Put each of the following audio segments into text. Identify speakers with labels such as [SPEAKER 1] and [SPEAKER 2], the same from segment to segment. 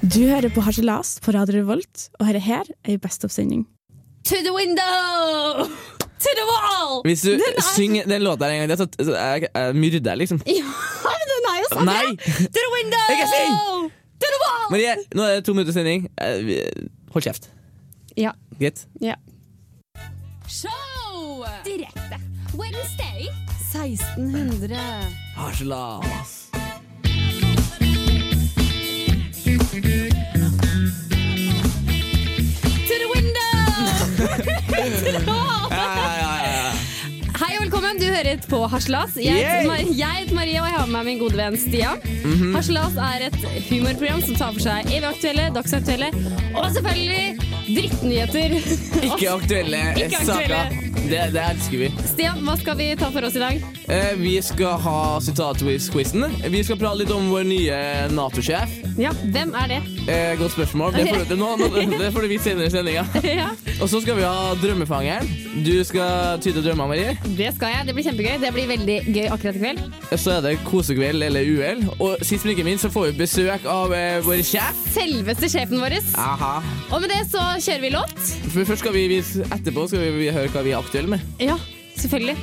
[SPEAKER 1] Du hører på Harselas på Radio Revolt, og dette her er ei Best-oppsending.
[SPEAKER 2] To the window! To the wall!
[SPEAKER 3] Hvis du synger den låta her en gang, til, så- så jeg, jeg myrder deg, liksom.
[SPEAKER 2] Ja, men den er jo sånn!
[SPEAKER 3] Nei!
[SPEAKER 2] To the window!
[SPEAKER 3] Jeg er sing!
[SPEAKER 2] To the wall!
[SPEAKER 3] Marie, nå er det to minutter sending. Eh, vi- Hold kjeft.
[SPEAKER 2] Ja.
[SPEAKER 3] Greit?
[SPEAKER 2] ja. Show! Direkte. Wednesday. 1600.
[SPEAKER 3] Harselas.
[SPEAKER 2] To the window! to the wall!
[SPEAKER 3] Ja, ja, ja, ja.
[SPEAKER 2] Hei og velkommen, du hører på Harselas. Jeg
[SPEAKER 3] Yay!
[SPEAKER 2] heter,
[SPEAKER 3] Mhm.
[SPEAKER 2] Mar jeg heter Marie, og jeg har med meg min gode venn Stian. Harselas er et humorprogram som tar for seg evig aktuelle, dagsaktuelle og selvfølgelig drittnyheter.
[SPEAKER 3] Ikke aktuelle
[SPEAKER 2] Ikke
[SPEAKER 3] saker.
[SPEAKER 2] aktuelle.
[SPEAKER 3] Det, det elsker vi.
[SPEAKER 2] Stian, hva skal vi ta for oss i dag?
[SPEAKER 3] Eh, Vi skal ha sitatquiz-quizen. Vi skal prate litt om vår nye Nato-sjef.
[SPEAKER 2] Ja, hvem er det?
[SPEAKER 3] Eh, Godt spørsmål. Det får, du, nå, nå, det får du vite senere i sendinga.
[SPEAKER 2] ja,
[SPEAKER 3] Og så skal vi ha Drømmefangeren. Du skal tyde drømmer, Marie.
[SPEAKER 2] det skal jeg. Det blir kjempegøy. Det blir veldig gøy akkurat i kveld.
[SPEAKER 3] Så er det kosekveld eller uhell. Og sist, men ikke minst, så får vi besøk av eh, vår sjef.
[SPEAKER 2] Selveste sjefen vår.
[SPEAKER 3] Aha.
[SPEAKER 2] Og med det så kjører vi låt.
[SPEAKER 3] For først skal vi vise etterpå skal vi, vi høre hva vi er aktuelle med.
[SPEAKER 2] Ja, selvfølgelig.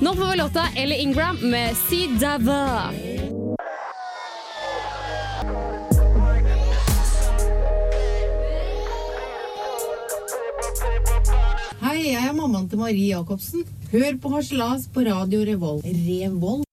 [SPEAKER 2] Nå får vi låta Ellie Ingram med Si Dava.
[SPEAKER 4] Hei, jeg er mammaen til Marie Jacobsen. Hør på Harselas på radio Revolt. Revolt.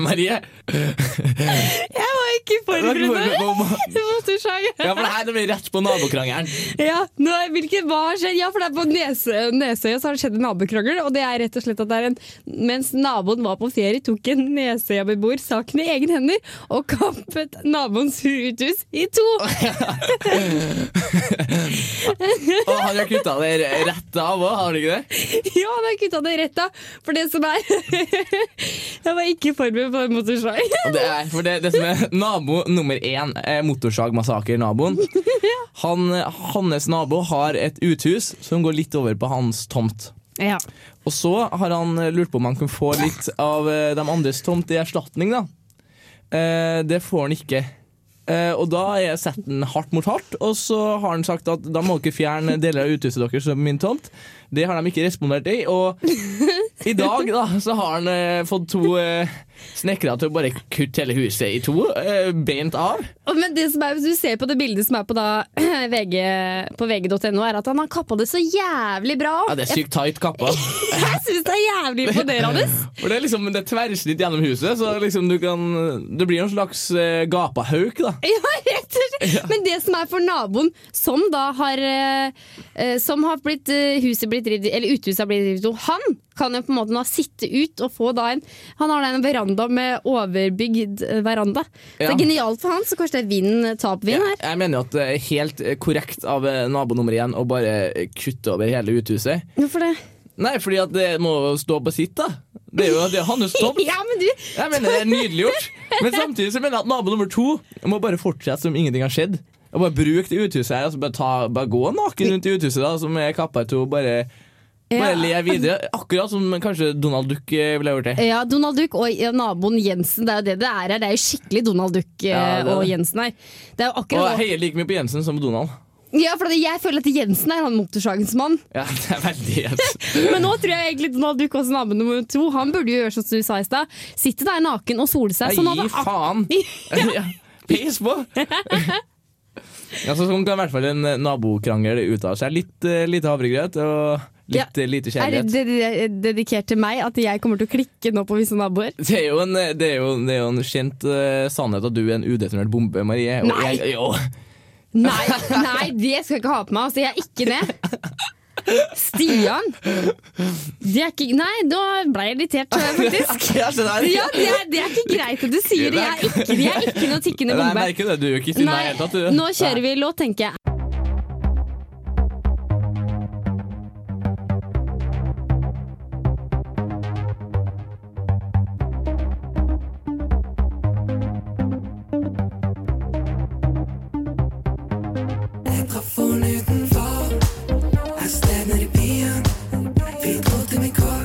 [SPEAKER 3] Marie!
[SPEAKER 2] Jeg var ikke
[SPEAKER 3] Dere må- må-
[SPEAKER 2] Du måtte sjange.
[SPEAKER 3] Ja, for det her det blir rett på nabokrangelen.
[SPEAKER 2] Ja, nå, er- hvilket, hva har skjedd? Ja, for det er på Nese, Nesøya så har det skjedd en nabokrangel. Og det er rett og slett at det er en Mens naboen var på ferie, tok en Nesøya-beboer saken i egne hender og kappet naboens hurtus i to.
[SPEAKER 3] Og han har kutta det rett av òg, har han ikke det?
[SPEAKER 2] Ja, han har kutta det rett av. For det som er Jeg var ikke forberedt på en motorsag.
[SPEAKER 3] Og Det er, for det, det som er nabo nummer én, eh, motorsagmassakre-naboen han, eh, Hans nabo har et uthus som går litt over på hans tomt.
[SPEAKER 2] Ja.
[SPEAKER 3] Og så har han eh, lurt på om han kan få litt av eh, de andres tomt i erstatning, da. Eh, det får han ikke. Eh, og da har jeg sett den hardt mot hardt, og så har han sagt at da må dere fjerne deler av uthuset deres som min tomt. Det har de ikke respondert i, og i dag da, så har han eh, fått to eh, snekkere til å bare kutte hele huset i to, eh, beint av.
[SPEAKER 2] Og- Men det som er, hvis du ser på det bildet som er på, da, VG, på vg.no, er at han har kappa det så jævlig bra
[SPEAKER 3] Ja,
[SPEAKER 2] av.
[SPEAKER 3] det er sykt tight kappa.
[SPEAKER 2] Jeg syns det er jævlig imponerende.
[SPEAKER 3] For det er liksom det er tverrsnitt gjennom huset, så liksom du kan Det blir jo en slags eh, gapahauk, da.
[SPEAKER 2] Ja, rett og slett. Men det som er for naboen, som da har eh, eh, Som har blitt eh, huset blitt revet, Eller uthuset har blitt revet i to, han kan jo på en måte nå sitte ut og få da en Han har da en veranda med overbygd eh, veranda. Det
[SPEAKER 3] Ja.
[SPEAKER 2] er genialt for han, så kanskje det er vind, tap vind her.
[SPEAKER 3] Ja, jeg mener jo at det er helt eh, korrekt av eh, nabo nummer én å bare eh, kutte over hele uthuset.
[SPEAKER 2] Hvorfor det?
[SPEAKER 3] Nei, fordi at det må jo stå på sitt, da. Det er jo det er hans tomt.
[SPEAKER 2] Ja, men du
[SPEAKER 3] Jeg mener det er nydelig gjort. Men samtidig så mener jeg at nabo nummer to må bare fortsette som ingenting har skjedd. Og bare bruke det uthuset her, altså bare, ta, bare gå naken rundt i uthuset, da, som er kappa i to. Bare, bare
[SPEAKER 2] Ja.
[SPEAKER 3] le videre. Akkurat som kanskje Donald Duck eh, ville ha gjort det.
[SPEAKER 2] Ja, Donald Duck og ja, naboen Jensen. Det er jo det det er her. Det er jo skikkelig Donald Duck eh,
[SPEAKER 3] Ja, det er
[SPEAKER 2] og
[SPEAKER 3] det.
[SPEAKER 2] Jensen her. Det er jo
[SPEAKER 3] Og
[SPEAKER 2] akkurat
[SPEAKER 3] jeg heier like mye på Jensen som på Donald.
[SPEAKER 2] Ja, for jeg føler at Jensen er han motorsagens mann.
[SPEAKER 3] Ja, det er veldig Jensen.
[SPEAKER 2] Men nå tror jeg egentlig Donald Duck også nabo nummer to. Han burde jo gjøre som du sa i stad. Sitte der naken og sole seg. Sånn at
[SPEAKER 3] Gi
[SPEAKER 2] det-
[SPEAKER 3] faen! Ja. Pis på! ja, så sånn kan i hvert fall en nabokrangel ut av seg. Litt eh, lite havregrøt og litt
[SPEAKER 2] Ja.
[SPEAKER 3] eh, lite
[SPEAKER 2] er det
[SPEAKER 3] kjærlighet.
[SPEAKER 2] ded- dedikert til meg at jeg kommer til å klikke nå på visse naboer?
[SPEAKER 3] Det er jo en, eh, det er jo, det er jo en kjent eh, sannhet at du er en udetonert bombe, Marie. Og
[SPEAKER 2] Nei.
[SPEAKER 3] Jeg, jo.
[SPEAKER 2] Nei, nei, det skal jeg ikke ha på meg. Altså, jeg er ikke det. Stian! Det er ikke Nei, nå ble jeg irritert, faktisk.
[SPEAKER 3] Ja, så der-
[SPEAKER 2] Ja, det er, det er ikke greit at du sier det. Jeg er ikke, jeg er ikke noe tikkende
[SPEAKER 3] Nei, jeg
[SPEAKER 2] bombe.
[SPEAKER 3] merker det. Du er jo ikke sinna i det hele tatt. du.
[SPEAKER 2] nå kjører vi låt, tenker jeg.
[SPEAKER 5] Trafoen utenfor, her stevner i byen. Vi dro til min kår,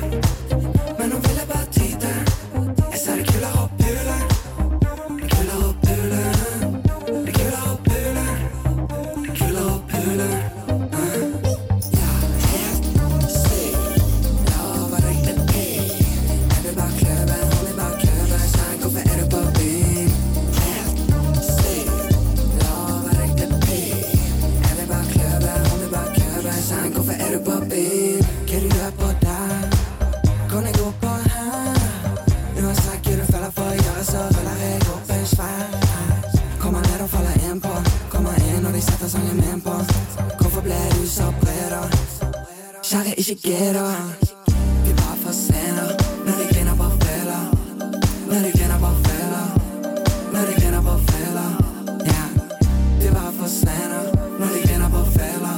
[SPEAKER 5] Vil du løpe der? Kan jeg gå på her? Uansett hva du føler for å gjøre, så ruller jeg opp en svær. Kommer ned og faller en på. Kommer inn og de setter sangen min på. Hvorfor ble du så bred, da? Kjære, ikke gidda. Vi bare forsvinner. Når de griner, bare føler. Når de griner, bare føler. Når de griner, bare føler. Ja. Du bare forsvinner. Når de griner, bare føler.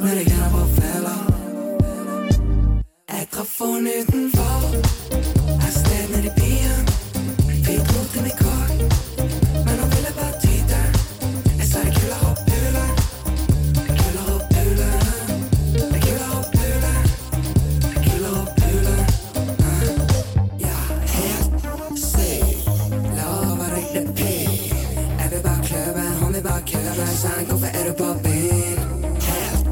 [SPEAKER 5] Når de griner, bare føler. Jeg traff henne utenfor Et sted nede i byen Vi dro til Mikol Men hun ville bare tyte Jeg sa det er kulere å pule Kulere å pule Det er kulere å pule Det er kulere å pule Ja, Ja, helt sykt Lover deg det pil Jeg vil bare kløve, han vil bare køve Sann, hvorfor er du på byen? Helt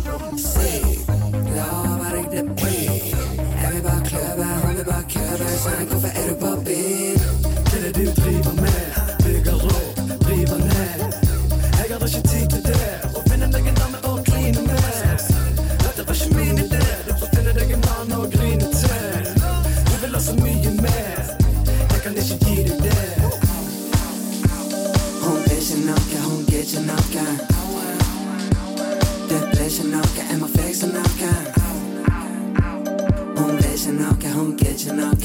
[SPEAKER 5] sykt Lover deg det pil Jeg vil bare kløve, han vil bare køve Sann, hvorfor er du på byen?
[SPEAKER 6] Det er det du driver med, bygger opp, river ned. Jeg hadde ikke tid til det, å finne deg en dame å kline med. Dette var ikke min idé, du får finne deg en mann å grine til. Du vil ha så mye mer, jeg kan ikke gi deg det.
[SPEAKER 5] Hun blir ikke noe, hun gir ikke noe. Det blir ikke noe, jeg må fikse noe. Hun blir ikke noe, hun gir ikke noe.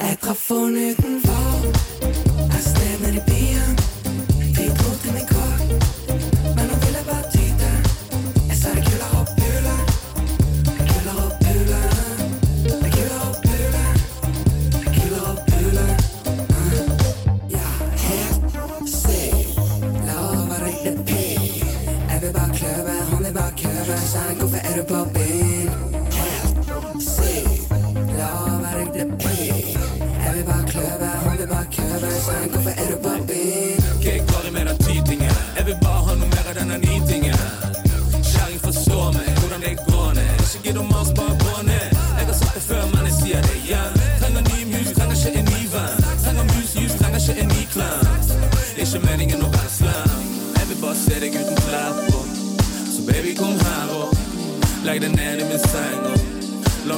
[SPEAKER 5] Jeg traff henne utenfor, et sted nede i byen. Vi dro til min kåk, men hun ville bare tyte. Jeg sa det er kulere å pule, det er kulere å pule. Det er kulere å pule, det er kulere å pule. Ja, helt sykt. Lover deg det pil. Jeg vil bare kløve, han vil bare køve. Sann, hvorfor er du på byen? Helt sykt. Lover deg det pil. Jeg vil bare kløve, han vil bare køve. Sann, hvorfor er du på byen?
[SPEAKER 6] Ikke jeg klarer med den tytingen, jeg vil bare ha noe mer av denne nitingen. Kjæring forstår meg, hvordan det går ned. Ikke gidd å mase, bare gå ned. Jeg har sagt det før, men jeg sier det igjen. Trenger ny mus, trenger ikke en ny venn. Trenger mus, jus, trenger ikke en ny klem. Ikke meningen å være slem. Jeg vil bare se deg uten klær på. Så baby, kom her og legg deg ned i min seng og la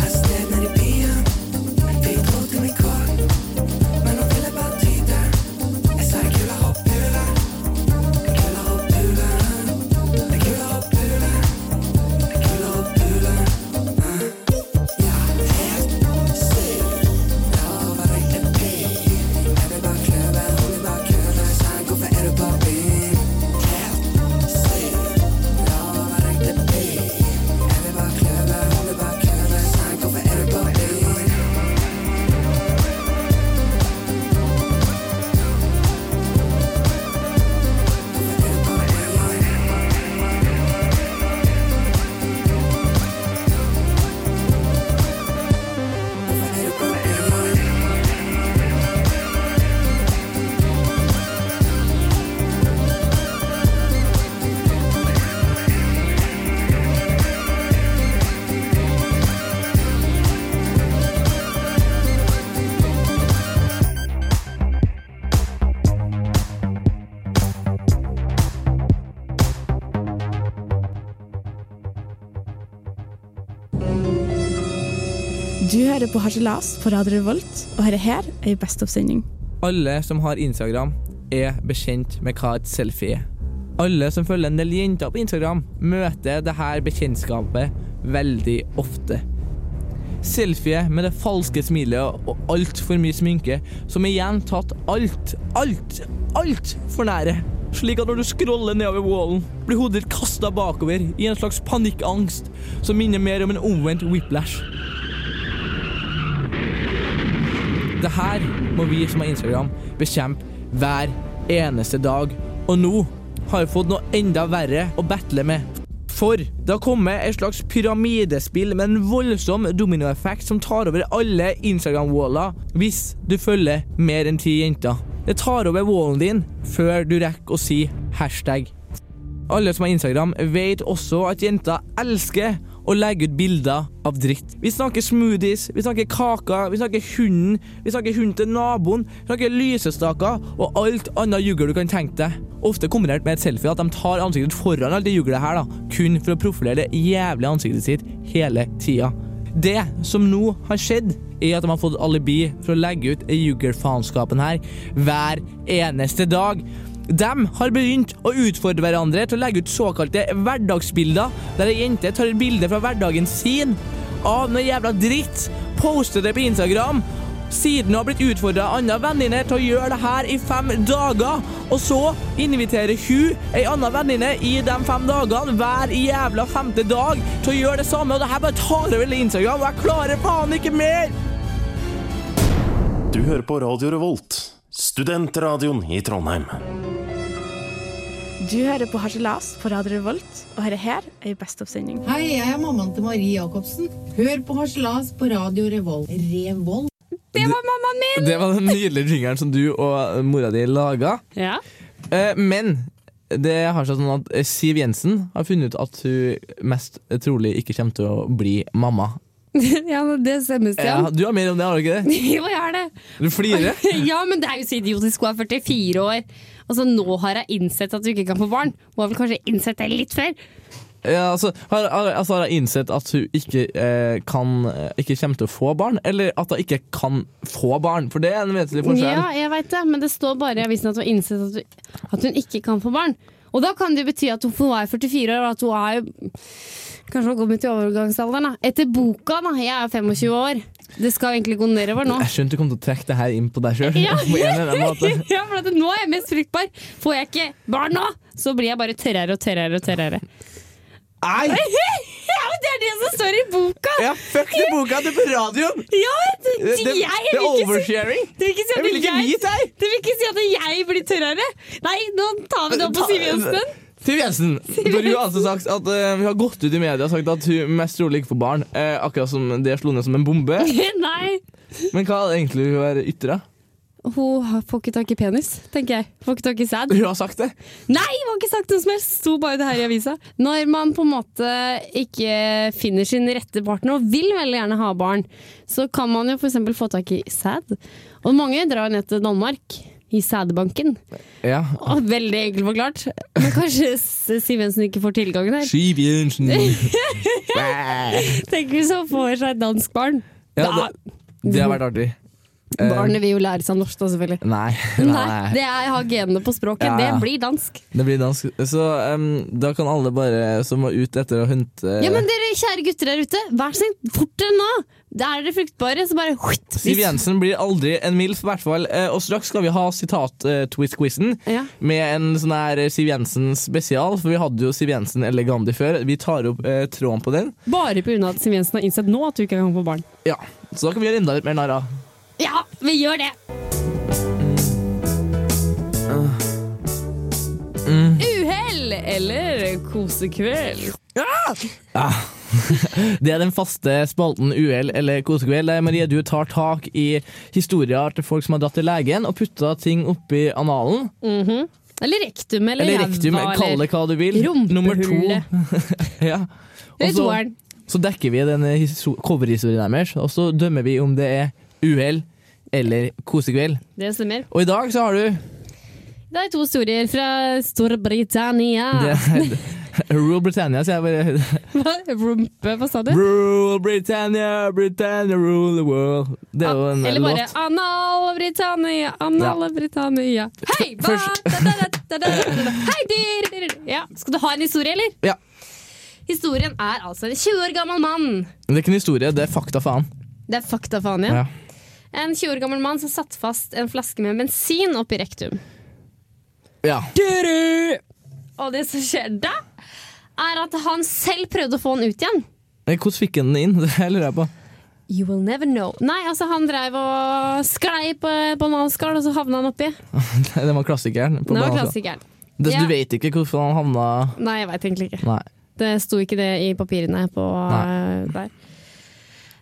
[SPEAKER 5] Et sted nede i byen. Vi dro til min kår. Men hun ville bare tyte. Jeg sa det er kulere å pule. Det er kulere å pule. Det er kulere å pule. Det er kulere å pule. Eh. Ja, helt sykt. Lover deg det pil. Jeg vil bare kløve, hun vil bare køve. Sann, hvorfor er du på byen? Helt sykt. Lover deg det pil. Jeg vil bare kløve, hun vil bare køve. Sann, hvorfor er du på byen? Hvorfor er du på byen? Hvorfor er du på byen?
[SPEAKER 1] Du hører på Harselas på Radio Revolt, og dette her er en bestoppsending.
[SPEAKER 3] Alle som har Instagram, er bekjent med hva et selfie er. Alle som følger en del jenter på Instagram, møter det her bekjentskapet veldig ofte. Selfie med det falske smilet og altfor mye sminke, som igjen tatt alt, alt, alt for nære. Slik at når du scroller nedover wallen, blir hodet ditt kasta bakover i en slags panikkangst som minner mer om en omvendt whiplash. Det her må vi som har Instagram bekjempe hver eneste dag. Og nå har vi fått noe enda verre å battle med. For det har kommet et slags pyramidespill med en voldsom dominoeffekt som tar over alle Instagram-waller hvis du følger mer enn ti jenter. Det tar over wallen din før du rekker å si hashtag alle som har Instagram, vet også at jenter elsker og legge ut bilder av dritt. Vi snakker smoothies, vi snakker kaker, vi snakker hunden, vi snakker hunden til naboen, vi snakker lysestaker og alt annet juggel du kan tenke deg. Ofte kombinert med et selfie at de tar ansiktet foran alt det juglet her, da, kun for å profilere det jævlige ansiktet sitt hele tida. Det som nå har skjedd, er at de har fått alibi for å legge ut juggelfaenskapen her hver eneste dag. De har begynt å utfordre hverandre til å legge ut såkalte hverdagsbilder, der ei jente tar et bilde fra hverdagen sin av noe jævla dritt, poster det på Instagram. Siden hun har blitt utfordra av andre venninner til å gjøre det her i fem dager. Og så inviterer hun ei anna venninne i de fem dagene hver jævla femte dag til å gjøre det samme. Og det her bare tar over hele Instagram, og jeg klarer faen ikke mer!
[SPEAKER 7] Du hører på Radio Revolt, studentradioen i Trondheim.
[SPEAKER 1] Du hører på Harselas på Radio Revolt, og dette her er en bestoppsending.
[SPEAKER 4] Hei, jeg er mammaen til Marie Jacobsen. Hør på Harselas på radio Revolt. Revolt?
[SPEAKER 2] Det var mammaen min!
[SPEAKER 3] Det var den nydelige jingeren som du og mora di laga.
[SPEAKER 2] Ja.
[SPEAKER 3] Eh, Men det har seg sånn at Siv Jensen har funnet ut at hun mest trolig ikke kommer til å bli mamma.
[SPEAKER 2] ja, men det stemmer,
[SPEAKER 3] Ja,
[SPEAKER 2] Stian.
[SPEAKER 3] du har mer om det, har du ikke det?
[SPEAKER 2] Jo, jeg er det.
[SPEAKER 3] Du flirer.
[SPEAKER 2] ja, men det er jo så idiotisk. Hun er 44 år. Altså, nå har jeg innsett at du ikke kan få barn. Hun har vel kanskje innsett det litt før.
[SPEAKER 3] Ja, altså, har, har, altså, har jeg innsett at hun ikke, eh, kan, eh, ikke kommer til å få barn? Eller at hun ikke kan få barn? For det er en vesentlig forskjell.
[SPEAKER 2] Ja, jeg vet det, men det står bare i avisen at hun har innsett at hun, at hun ikke kan få barn. Og da kan det jo bety at hun, for hun er 44 år, og at hun er jo Kanskje hun kommer til overgangsalderen, da. Etter boka, da. Jeg er 25 år. Det skal egentlig gå nedover nå.
[SPEAKER 3] Jeg skjønte du kom til å trekke det her inn på deg sjøl.
[SPEAKER 2] Ja.
[SPEAKER 3] måte
[SPEAKER 2] Ja, for at nå er jeg mest fruktbar. Får jeg ikke barn nå, så blir jeg bare tørrere og tørrere og tørrere.
[SPEAKER 3] Nei!
[SPEAKER 2] Ja, men det er det som står i boka!
[SPEAKER 3] Ja, fuck den boka! Det er på radioen!
[SPEAKER 2] Ja, det,
[SPEAKER 3] Det,
[SPEAKER 2] jeg,
[SPEAKER 3] det, det er
[SPEAKER 2] vil ikke si,
[SPEAKER 3] oversharing.
[SPEAKER 2] det vil ikke si
[SPEAKER 3] Jeg
[SPEAKER 2] at
[SPEAKER 3] vil ikke
[SPEAKER 2] jeg,
[SPEAKER 3] vite deg!
[SPEAKER 2] det vil ikke si at jeg blir tørrere. Nei, nå tar vi det opp på
[SPEAKER 3] Ta-
[SPEAKER 2] Siv Jensen.
[SPEAKER 3] Siv Jensen. For hun har altså sagt at eh, hun har gått ut i media og sagt at hun mest trolig ikke får barn. eh, akkurat som det slo ned som en bombe.
[SPEAKER 2] Nei.
[SPEAKER 3] Men hva er det egentlig hun har ytra?
[SPEAKER 2] Hun har- får ikke tak i penis, tenker jeg. Får ikke tak i sæd.
[SPEAKER 3] Hun har sagt det.
[SPEAKER 2] Nei, hun har ikke sagt noe som helst! Sto bare det her i avisa. Når man på en måte ikke finner sin rette partner og vil veldig gjerne ha barn, så kan man jo f.eks. få tak i sæd. Og mange drar ned til Danmark. I sædbanken.
[SPEAKER 3] Ja.
[SPEAKER 2] Å, Veldig enkelt forklart. Men kanskje S- Siv Jensen ikke får tilgang der.
[SPEAKER 3] Siv Jensen.
[SPEAKER 2] Tenk hvis hun får seg et dansk barn.
[SPEAKER 3] Ja, det, det har vært artig. Eh,
[SPEAKER 2] Barnet vil jo lære seg norsk, da, selvfølgelig.
[SPEAKER 3] Nei.
[SPEAKER 2] Nei, det er, jeg har genene på språket.
[SPEAKER 3] Ja, ja. Eh.
[SPEAKER 2] Det blir dansk.
[SPEAKER 3] Det blir dansk. Så em, da kan alle bare som var ute etter å hunte
[SPEAKER 2] Ja, men dere kjære gutter der ute, vær så snill, fortere nå! Da er dere fruktbare, så bare huitt,
[SPEAKER 3] Siv Jensen blir aldri en MILF, i hvert fall. Eh, Og straks skal vi ha sitat-twist-quizen
[SPEAKER 2] Ja.
[SPEAKER 3] med en sånn her Siv Jensen spesial, for vi hadde jo Siv Jensen elegandi før. Vi tar opp eh, tråden på den.
[SPEAKER 2] Bare pga. at Siv Jensen har innsett nå at du ikke kan få barn.
[SPEAKER 3] Ja, Så da kan vi gjøre enda litt mer narr av.
[SPEAKER 2] Ja, vi gjør det! Uhell eller kosekveld?
[SPEAKER 3] Det er den faste spalten UL eller kosekveld. der Marie, du tar tak i historier til folk som har dratt til legen og putta ting oppi analen.
[SPEAKER 2] Mhm. Eller rektum eller,
[SPEAKER 3] Eller rektum,
[SPEAKER 2] ræva,
[SPEAKER 3] kall det hva du vil.
[SPEAKER 2] Rumpehullet.
[SPEAKER 3] Nummer to. ja.
[SPEAKER 2] Det
[SPEAKER 3] Og
[SPEAKER 2] er
[SPEAKER 3] så-
[SPEAKER 2] toeren.
[SPEAKER 3] Så dekker vi den histo- coverhistorien deres, og så dømmer vi om det er uhell eller kosekveld.
[SPEAKER 2] Det stemmer.
[SPEAKER 3] Og i dag så har du
[SPEAKER 2] Det er to historier fra Storbritannia.
[SPEAKER 3] det, Rule Britannia, sier jeg bare.
[SPEAKER 2] Hva? Rumpe, hva sa du?
[SPEAKER 3] Rule Britannia, Britannia rule the world. Det er jo en
[SPEAKER 2] Ah, Eller bare
[SPEAKER 3] låt.
[SPEAKER 2] Anal Britannia, Anal
[SPEAKER 3] Ja.
[SPEAKER 2] Britannia. Hei, ba,
[SPEAKER 3] Først-
[SPEAKER 2] da, da, da, da, da, da. Hei, dyr, dyr, dyr. Ja. Skal du ha en historie, eller?
[SPEAKER 3] Ja.
[SPEAKER 2] Historien er altså en 20 år gammel mann.
[SPEAKER 3] Det er ikke en historie, det er fakta, faen.
[SPEAKER 2] Det er fakta, faen, ja.
[SPEAKER 3] Ja.
[SPEAKER 2] En 20 år gammel mann som satt fast en flaske med bensin oppi rektum.
[SPEAKER 3] ja.
[SPEAKER 2] Og det som skjer da, er at han selv prøvde å få den ut igjen.
[SPEAKER 3] Men Hvordan fikk han den inn? Det lurer jeg på.
[SPEAKER 2] You will never know. Nei, altså han dreiv og sklei på en bananskall, og så havna han oppi.
[SPEAKER 3] Det var klassikeren. På
[SPEAKER 2] Det var
[SPEAKER 3] banen. altså.
[SPEAKER 2] klassikeren.
[SPEAKER 3] Det,
[SPEAKER 2] Ja.
[SPEAKER 3] Du vet ikke hvorfor han havna
[SPEAKER 2] Nei, jeg veit egentlig ikke.
[SPEAKER 3] Nei.
[SPEAKER 2] Det sto ikke det i papirene på
[SPEAKER 3] Nei.
[SPEAKER 2] eh, der.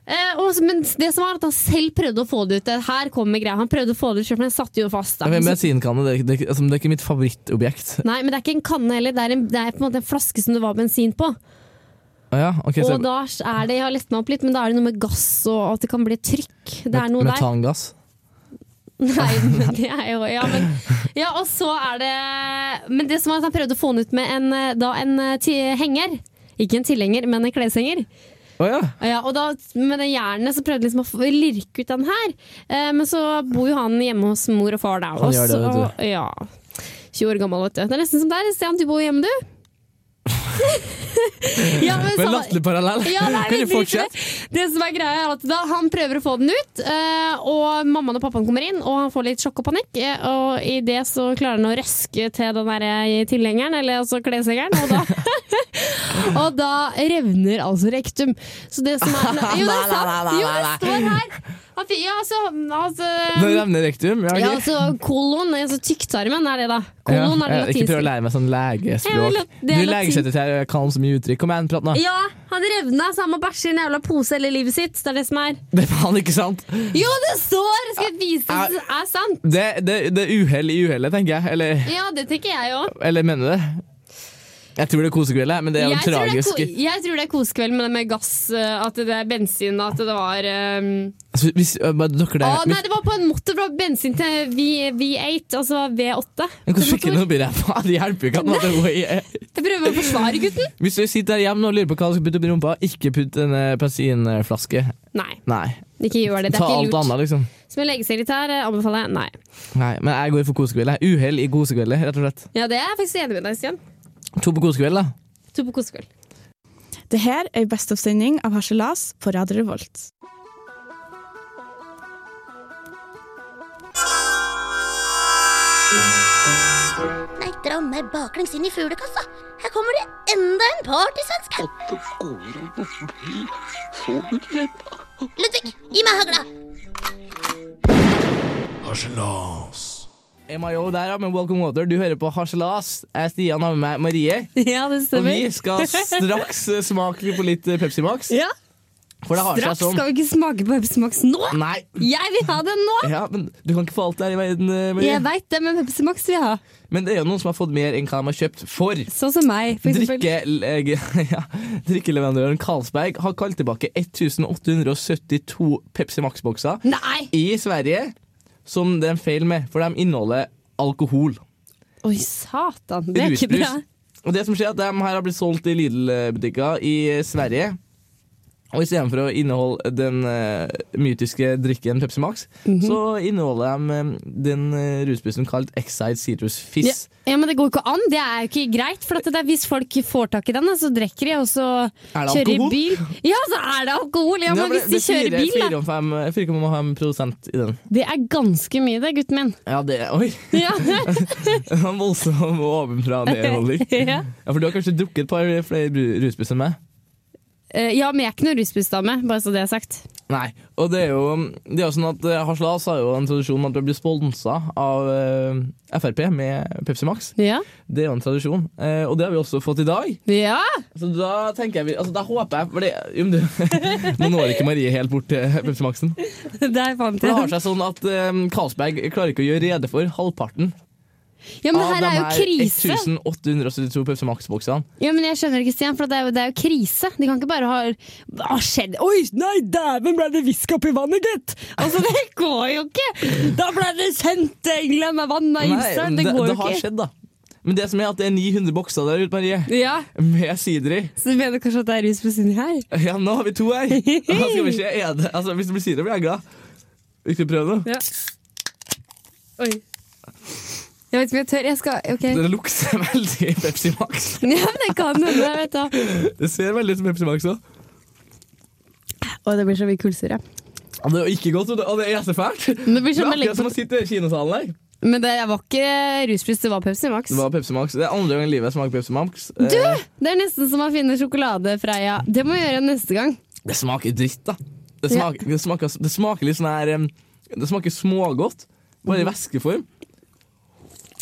[SPEAKER 2] Eh, og, så- men det som var at han selv prøvde å få det ut. Det her kommer greia. Han prøvde å få det ut selv, men den satt jo fast. Da.
[SPEAKER 3] Men
[SPEAKER 2] Så,
[SPEAKER 3] Bensinkanne det, er ikke- det, er ikke- altså, det er ikke mitt favorittobjekt.
[SPEAKER 2] nei, men det er ikke en kanne heller. Det er, en, det er på en måte en flaske som det var bensin på.
[SPEAKER 3] ja, ok, så
[SPEAKER 2] Og da er det, jeg har lest meg opp litt, men da er det noe med gass og at det kan bli trykk. Det er noe der.
[SPEAKER 3] Metangass.
[SPEAKER 2] Nei, men det er jo Ja, men, ja og så er det Men det som er at han prøvde å få den ut med en, eh, da en eh, ti- henger. Ikke en tilhenger, men en kleshenger.
[SPEAKER 3] Å ja.
[SPEAKER 2] Ja, og da, Med det jernet så prøvde jeg liksom å få- lirke ut den her. Eh, men så bor jo han hjemme hos mor og far da.
[SPEAKER 3] Han
[SPEAKER 2] og
[SPEAKER 3] gjør det,
[SPEAKER 2] så,
[SPEAKER 3] vet
[SPEAKER 2] Ja, 20 år gammel, vet du. Det er nesten som deg. Stian, du bor jo hjemme, du. ja, men,
[SPEAKER 3] Men
[SPEAKER 2] så-
[SPEAKER 3] latterlig parallell.
[SPEAKER 2] ja, nei,
[SPEAKER 3] kan
[SPEAKER 2] vi
[SPEAKER 3] du
[SPEAKER 2] driter i
[SPEAKER 3] fortsette?
[SPEAKER 2] det. Det som er greia er at da, Han prøver å få den ut, eh, og mammaen og pappaen kommer inn, og han får litt sjokk og panikk. eh, Og i det så klarer han å røske til den der eh, tilhengeren, eller altså kleshengeren, og da Og da revner altså rektum. Så det som er Jo, det er sant! Jo, det står her! Han fi- Ja, altså,
[SPEAKER 3] Nå
[SPEAKER 2] altså
[SPEAKER 3] revner rektum. Ja, ok.
[SPEAKER 2] ja, altså kolon, altså tykktarmen er det da. Kolon er det
[SPEAKER 3] Ja, jeg- Ikke prøv å
[SPEAKER 2] latinske.
[SPEAKER 3] lære meg sånn
[SPEAKER 2] Jeg
[SPEAKER 3] legespråk.
[SPEAKER 2] vil at- det er
[SPEAKER 3] Du
[SPEAKER 2] latin.
[SPEAKER 3] legesekretær, jeg kan så mye uttrykk. Kom igjen, prat nå.
[SPEAKER 2] Ja, han revna, så han må bæsje i en jævla pose hele livet sitt. Det er det som er.
[SPEAKER 3] Det er faen ikke sant!
[SPEAKER 2] Jo, det står! Skal jeg vise
[SPEAKER 3] Er-
[SPEAKER 2] det som er sant?
[SPEAKER 3] Det, det, det er uhell i uhellet, tenker jeg. Eller,
[SPEAKER 2] Ja, det tenker jeg òg.
[SPEAKER 3] eller mener du det? Jeg tror det er kosekveld, jeg, men det er jo
[SPEAKER 2] Jeg,
[SPEAKER 3] en
[SPEAKER 2] tror det er ko-
[SPEAKER 3] tragisk
[SPEAKER 2] jeg tror det er kosekveld med det med gass, eh, at det er bensin, at det var um...
[SPEAKER 3] Altså, Hvis, øh, bare dere
[SPEAKER 2] Å
[SPEAKER 3] der
[SPEAKER 2] nei, det var på en måte fra bensin til v, V8, altså V8.
[SPEAKER 3] Men hvor
[SPEAKER 2] Det
[SPEAKER 3] skikkelig nå blir jeg faen? Det hjelper jo ikke at man er way
[SPEAKER 2] Jeg prøver å forsvare gutten.
[SPEAKER 3] Hvis du sitter der hjemme og lurer på hva du skal putte oppi rumpa, ikke putt en eh, bensinflaske.
[SPEAKER 2] Nei,
[SPEAKER 3] Nei.
[SPEAKER 2] ikke gjør det. Det
[SPEAKER 3] Ta
[SPEAKER 2] er
[SPEAKER 3] alt
[SPEAKER 2] ikke lurt.
[SPEAKER 3] annet, liksom.
[SPEAKER 2] Som en legesekretær eh, anbefaler jeg nei.
[SPEAKER 3] Nei, Men jeg går for kosekveld. jeg. Uhell i kosekveldet, rett og slett.
[SPEAKER 2] Ja, det er jeg faktisk enig med deg, Stian.
[SPEAKER 3] To på kosekveld, da.
[SPEAKER 2] To på kosekveld.
[SPEAKER 1] Det her er en Best of-sending av Harselas på Radio Revolt.
[SPEAKER 8] Nei, dra meg baklengs inn i fuglekassa. Her kommer det enda en partysvenske. Ludvig, gi meg hagla.
[SPEAKER 3] MIO der, ja, med Welcome Water. Du hører på Harselas. Jeg er Stian har med meg Marie.
[SPEAKER 2] Ja, det
[SPEAKER 3] Og
[SPEAKER 2] stemmer.
[SPEAKER 3] vi skal straks eh, smake på litt eh, Pepsi Max.
[SPEAKER 2] Ja,
[SPEAKER 3] For det har
[SPEAKER 2] Straks
[SPEAKER 3] seg sånn. Mm.
[SPEAKER 2] skal vi ikke smake på Pepsi Max nå!
[SPEAKER 3] Nei.
[SPEAKER 2] Jeg vil ha den nå!
[SPEAKER 3] Ja, men Du kan ikke få alt det her i verden. eh, Marie.
[SPEAKER 2] Jeg veit det, men Pepsi Max vil jeg ha.
[SPEAKER 3] Men det er jo noen som har fått mer enn hva de har kjøpt for.
[SPEAKER 2] Sånn som meg, for eksempel.
[SPEAKER 3] Drikke, eh, ja, drikkeleverandøren Carlsberg har kalt tilbake 1872 Pepsi Max-bokser
[SPEAKER 2] Nei!
[SPEAKER 3] i Sverige som det er en feil med, for de inneholder alkohol.
[SPEAKER 2] Oi, satan. Det er ikke
[SPEAKER 3] rusbrus.
[SPEAKER 2] bra.
[SPEAKER 3] Og det som skjer er at De her har blitt solgt i Lidl-butikker i Sverige. Og istedenfor å inneholde den eh, mytiske drikken Pepsi Max,
[SPEAKER 2] Mhm.
[SPEAKER 3] så inneholder de eh, den eh, rusbrusen kalt Excide Citrus
[SPEAKER 2] Ja,
[SPEAKER 3] Fizz.
[SPEAKER 2] ja, men Det går ikke an. Det er jo ikke greit. For at det er Hvis folk får tak i den, så drikker de, og så
[SPEAKER 3] Er det
[SPEAKER 2] kjører de
[SPEAKER 3] alkohol?
[SPEAKER 2] bil. Ja, så er det alkohol! Ja, men
[SPEAKER 3] det-
[SPEAKER 2] hvis de
[SPEAKER 3] det
[SPEAKER 2] kjører
[SPEAKER 3] er
[SPEAKER 2] bil,
[SPEAKER 3] fire-
[SPEAKER 2] da.
[SPEAKER 3] 4,5 4,5 i den.
[SPEAKER 2] Det er ganske mye, det, gutten min.
[SPEAKER 3] Ja, det Oi!
[SPEAKER 2] Ja.
[SPEAKER 3] det var Voldsom ovenfra-ned-holdning.
[SPEAKER 2] ja.
[SPEAKER 3] Ja, for du har kanskje drukket et par flere bru- rusbrus enn meg?
[SPEAKER 2] Eh, ja, men jeg er ikke noen rusbussdame, bare så det er sagt.
[SPEAKER 3] Nei, og det er jo, det er jo sånn at eh, Haslas har jo en tradisjon med at vi blir sponsa av eh, Frp med Pepsi Max.
[SPEAKER 2] Ja.
[SPEAKER 3] Det er jo en tradisjon, eh, og det har vi også fått i dag.
[SPEAKER 2] ja.
[SPEAKER 3] Så da tenker jeg vi, altså da håper jeg for det, jo, men du, Nå når ikke Marie helt bort til Pepsi Maxen.
[SPEAKER 2] Der fant
[SPEAKER 3] For det
[SPEAKER 2] jeg
[SPEAKER 3] har
[SPEAKER 2] den.
[SPEAKER 3] seg sånn at eh, Carlsberg klarer ikke å gjøre rede for halvparten
[SPEAKER 2] Ja, men det her
[SPEAKER 3] de
[SPEAKER 2] er jo krise.
[SPEAKER 3] 1872 Pepsi Max-boksene.
[SPEAKER 2] Ja, men jeg skjønner ikke, Stian, for det er jo, det er jo krise. De kan ikke bare ha Hva har skjedd? Oi, nei, dæven ble det visk oppi vannet, gitt! Altså, det går jo ikke! Da ble det sendt til England med vann av
[SPEAKER 3] Nei,
[SPEAKER 2] Island!
[SPEAKER 3] det,
[SPEAKER 2] Det går
[SPEAKER 3] det
[SPEAKER 2] jo
[SPEAKER 3] har
[SPEAKER 2] ikke.
[SPEAKER 3] skjedd, da. Men det som er at det er 900 bokser der ute, Marie,
[SPEAKER 2] Ja,
[SPEAKER 3] med sider i.
[SPEAKER 2] Så du mener kanskje at det er rus på siden her?
[SPEAKER 3] Ja, nå har vi to her. Da skal vi se. Er det, altså, hvis det blir sirup, blir jeg glad. Vi skal prøve nå.
[SPEAKER 2] Ja. Oi. Jeg vet ikke om jeg tør. Jeg skal OK.
[SPEAKER 3] Det lukter veldig Pepsi Max.
[SPEAKER 2] Ja, men det kan hende, vet du.
[SPEAKER 3] Det ser veldig ut som Pepsi Max òg.
[SPEAKER 2] Å, det blir så mye kullsyre.
[SPEAKER 3] Det er jo ikke godt, og det- og det er så fælt. Det
[SPEAKER 2] Men det blir
[SPEAKER 3] er
[SPEAKER 2] sånn å
[SPEAKER 3] akkurat
[SPEAKER 2] legge
[SPEAKER 3] som å
[SPEAKER 2] på
[SPEAKER 3] sitte i kinosalen der.
[SPEAKER 2] Men det var ikke rusbrus, det var Pepsi Max.
[SPEAKER 3] Det var Pepsi Max. Det er andre gang i livet jeg smaker Pepsi Max. Eh,
[SPEAKER 2] Det er nesten som å finne sjokolade, Freia. Det må vi gjøre neste gang.
[SPEAKER 3] Det smaker dritt, da. Det
[SPEAKER 2] Ja.
[SPEAKER 3] smaker, det smaker, det smaker litt sånn her em, Det smaker smågodt, bare i væskeform.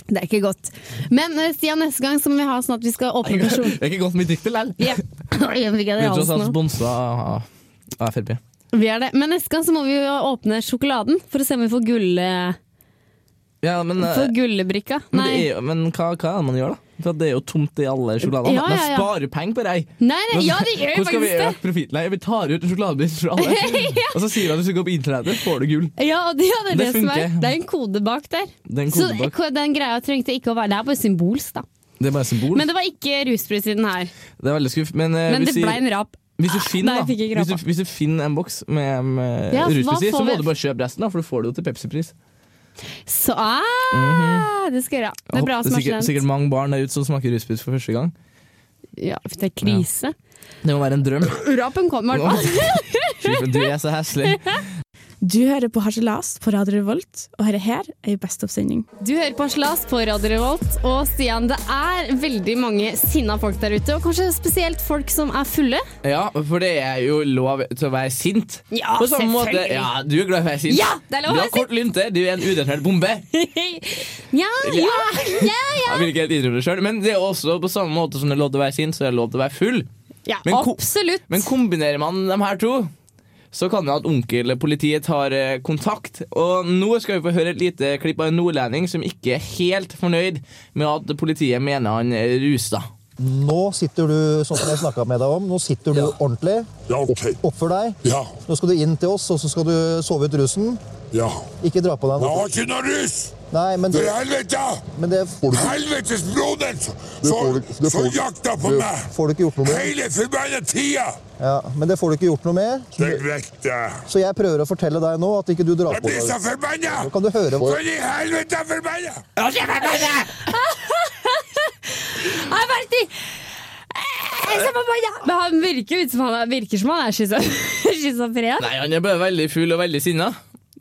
[SPEAKER 2] Det er ikke godt. Men eh, Stian, neste gang så må vi ha sånn at vi skal åpne person.
[SPEAKER 3] Det er ikke godt med drikk til likevel.
[SPEAKER 2] Ja. Jeg fikk det
[SPEAKER 3] Vi
[SPEAKER 2] i
[SPEAKER 3] er sånn tross alt
[SPEAKER 2] halsen nå.
[SPEAKER 3] sponsa av av Frp.
[SPEAKER 2] Vi er det. Men neste gang så må vi jo åpne sjokoladen for å se om vi får, gull,
[SPEAKER 3] Ja, men, eh,
[SPEAKER 2] får gullbrikka.
[SPEAKER 3] men, eh,
[SPEAKER 2] Nei.
[SPEAKER 3] det er, jo- men hva, hva er det man gjør, da? For det er jo tomt i alle sjokoladene.
[SPEAKER 2] Ja, ja, ja.
[SPEAKER 3] De sparer penger på deg.
[SPEAKER 2] Nei, nei, ja, det gjør
[SPEAKER 3] Hvordan skal vi
[SPEAKER 2] faktisk det.
[SPEAKER 3] øke profitten? Nei, vi tar ut en sjokoladebit fra alle. Og så sier han at hvis du går på internettet, får du gull.
[SPEAKER 2] Ja, det, ja, det, er
[SPEAKER 3] Det
[SPEAKER 2] det, som er.
[SPEAKER 3] funker.
[SPEAKER 2] det er en kode bak der.
[SPEAKER 3] Det er en
[SPEAKER 2] Så
[SPEAKER 3] kode bak.
[SPEAKER 2] ko- den greia trengte ikke å være Det er bare symbols, da.
[SPEAKER 3] Det er bare symbol.
[SPEAKER 2] Men det var ikke rusbrus i den her.
[SPEAKER 3] det er veldig skuff. Men, eh,
[SPEAKER 2] Men det
[SPEAKER 3] hvis,
[SPEAKER 2] ble
[SPEAKER 3] vi-
[SPEAKER 2] en rap.
[SPEAKER 3] hvis, du finner,
[SPEAKER 2] Nei, jeg
[SPEAKER 3] da,
[SPEAKER 2] fikk ikke
[SPEAKER 3] hvis,
[SPEAKER 2] rappa.
[SPEAKER 3] du, hvis du finner en boks med um,
[SPEAKER 2] Ja, hva
[SPEAKER 3] rusbrus i, så
[SPEAKER 2] får
[SPEAKER 3] må
[SPEAKER 2] vi?
[SPEAKER 3] du bare kjøpe resten, da, for du får det jo til Pepsi-pris.
[SPEAKER 2] Så ah,
[SPEAKER 3] Mhm.
[SPEAKER 2] Det skal jeg gjøre. Det
[SPEAKER 3] Jeg
[SPEAKER 2] er
[SPEAKER 3] håper-
[SPEAKER 2] bra som
[SPEAKER 3] sikkert,
[SPEAKER 2] er
[SPEAKER 3] sikkert mange barn der ute som smaker rusbrus for første gang.
[SPEAKER 2] Ja, for det er krise.
[SPEAKER 3] Det må være en drøm.
[SPEAKER 2] Rapen kom, i hvert fall.
[SPEAKER 3] Fy, Du er så heslig.
[SPEAKER 1] Du hører på Harselas på Radio Revolt, og dette her er en Best of-sending.
[SPEAKER 2] Du hører på Slas på Radio Revolt, og Stian, det er veldig mange sinna folk der ute. Og kanskje spesielt folk som er fulle.
[SPEAKER 3] Ja, for det er jo lov til å være sint.
[SPEAKER 2] Ja,
[SPEAKER 3] På samme måte,
[SPEAKER 2] selvfølgelig.
[SPEAKER 3] ja, Du er glad i å være sint.
[SPEAKER 2] Ja, det er lov å
[SPEAKER 3] du
[SPEAKER 2] være
[SPEAKER 3] har kort lynte, du er en udetonert bombe.
[SPEAKER 2] Ja, ja, ja, ja.
[SPEAKER 3] Jeg vil ikke helt innrømme det selv, Men det er også på samme måte som det er lov til å være sint, så er det lov til å være full.
[SPEAKER 2] ja
[SPEAKER 3] Men ko-
[SPEAKER 2] absolutt.
[SPEAKER 3] Men kombinerer man de her to, så kan det at onkelpolitiet tar eh, kontakt. Og nå skal vi få høre et lite klipp av en nordlending som ikke er helt fornøyd med at politiet mener han er rusa.
[SPEAKER 9] Nå sitter du, sånn som jeg snakket med deg om, nå sitter du ordentlig.
[SPEAKER 6] Ja, ok.
[SPEAKER 9] Oppfør deg.
[SPEAKER 6] Ja,
[SPEAKER 9] Nå skal du inn til oss, og så skal du sove ut rusen.
[SPEAKER 6] ja.
[SPEAKER 9] Ikke dra på deg
[SPEAKER 6] Jeg
[SPEAKER 9] noe.
[SPEAKER 6] har ikke noe rus!
[SPEAKER 9] Nei, men
[SPEAKER 6] Til
[SPEAKER 9] det,
[SPEAKER 6] helvete!
[SPEAKER 9] men det får, du,
[SPEAKER 6] Helvetes broder som
[SPEAKER 9] Det får du- det får
[SPEAKER 6] som
[SPEAKER 9] du-
[SPEAKER 6] jakta på
[SPEAKER 9] det
[SPEAKER 6] meg!
[SPEAKER 9] får du ikke gjort noe med.
[SPEAKER 6] Hele forbanna tida!
[SPEAKER 9] ja, men det får du ikke gjort noe med.
[SPEAKER 6] Det er greit, det.
[SPEAKER 9] Så jeg prøver å fortelle deg nå at ikke du drar
[SPEAKER 6] Jeg
[SPEAKER 9] på
[SPEAKER 6] blir
[SPEAKER 9] deg
[SPEAKER 6] så
[SPEAKER 9] rusen.
[SPEAKER 6] forbanna!
[SPEAKER 9] Nå kan du høre hva
[SPEAKER 6] For i helvete forbanna!
[SPEAKER 2] Jeg vet ikke. Eh, Jeg ser på meg, ja. Men han virker ut som han er, virker som han er schizo- schizofren.
[SPEAKER 3] Nei, han er bare veldig full og veldig sinna.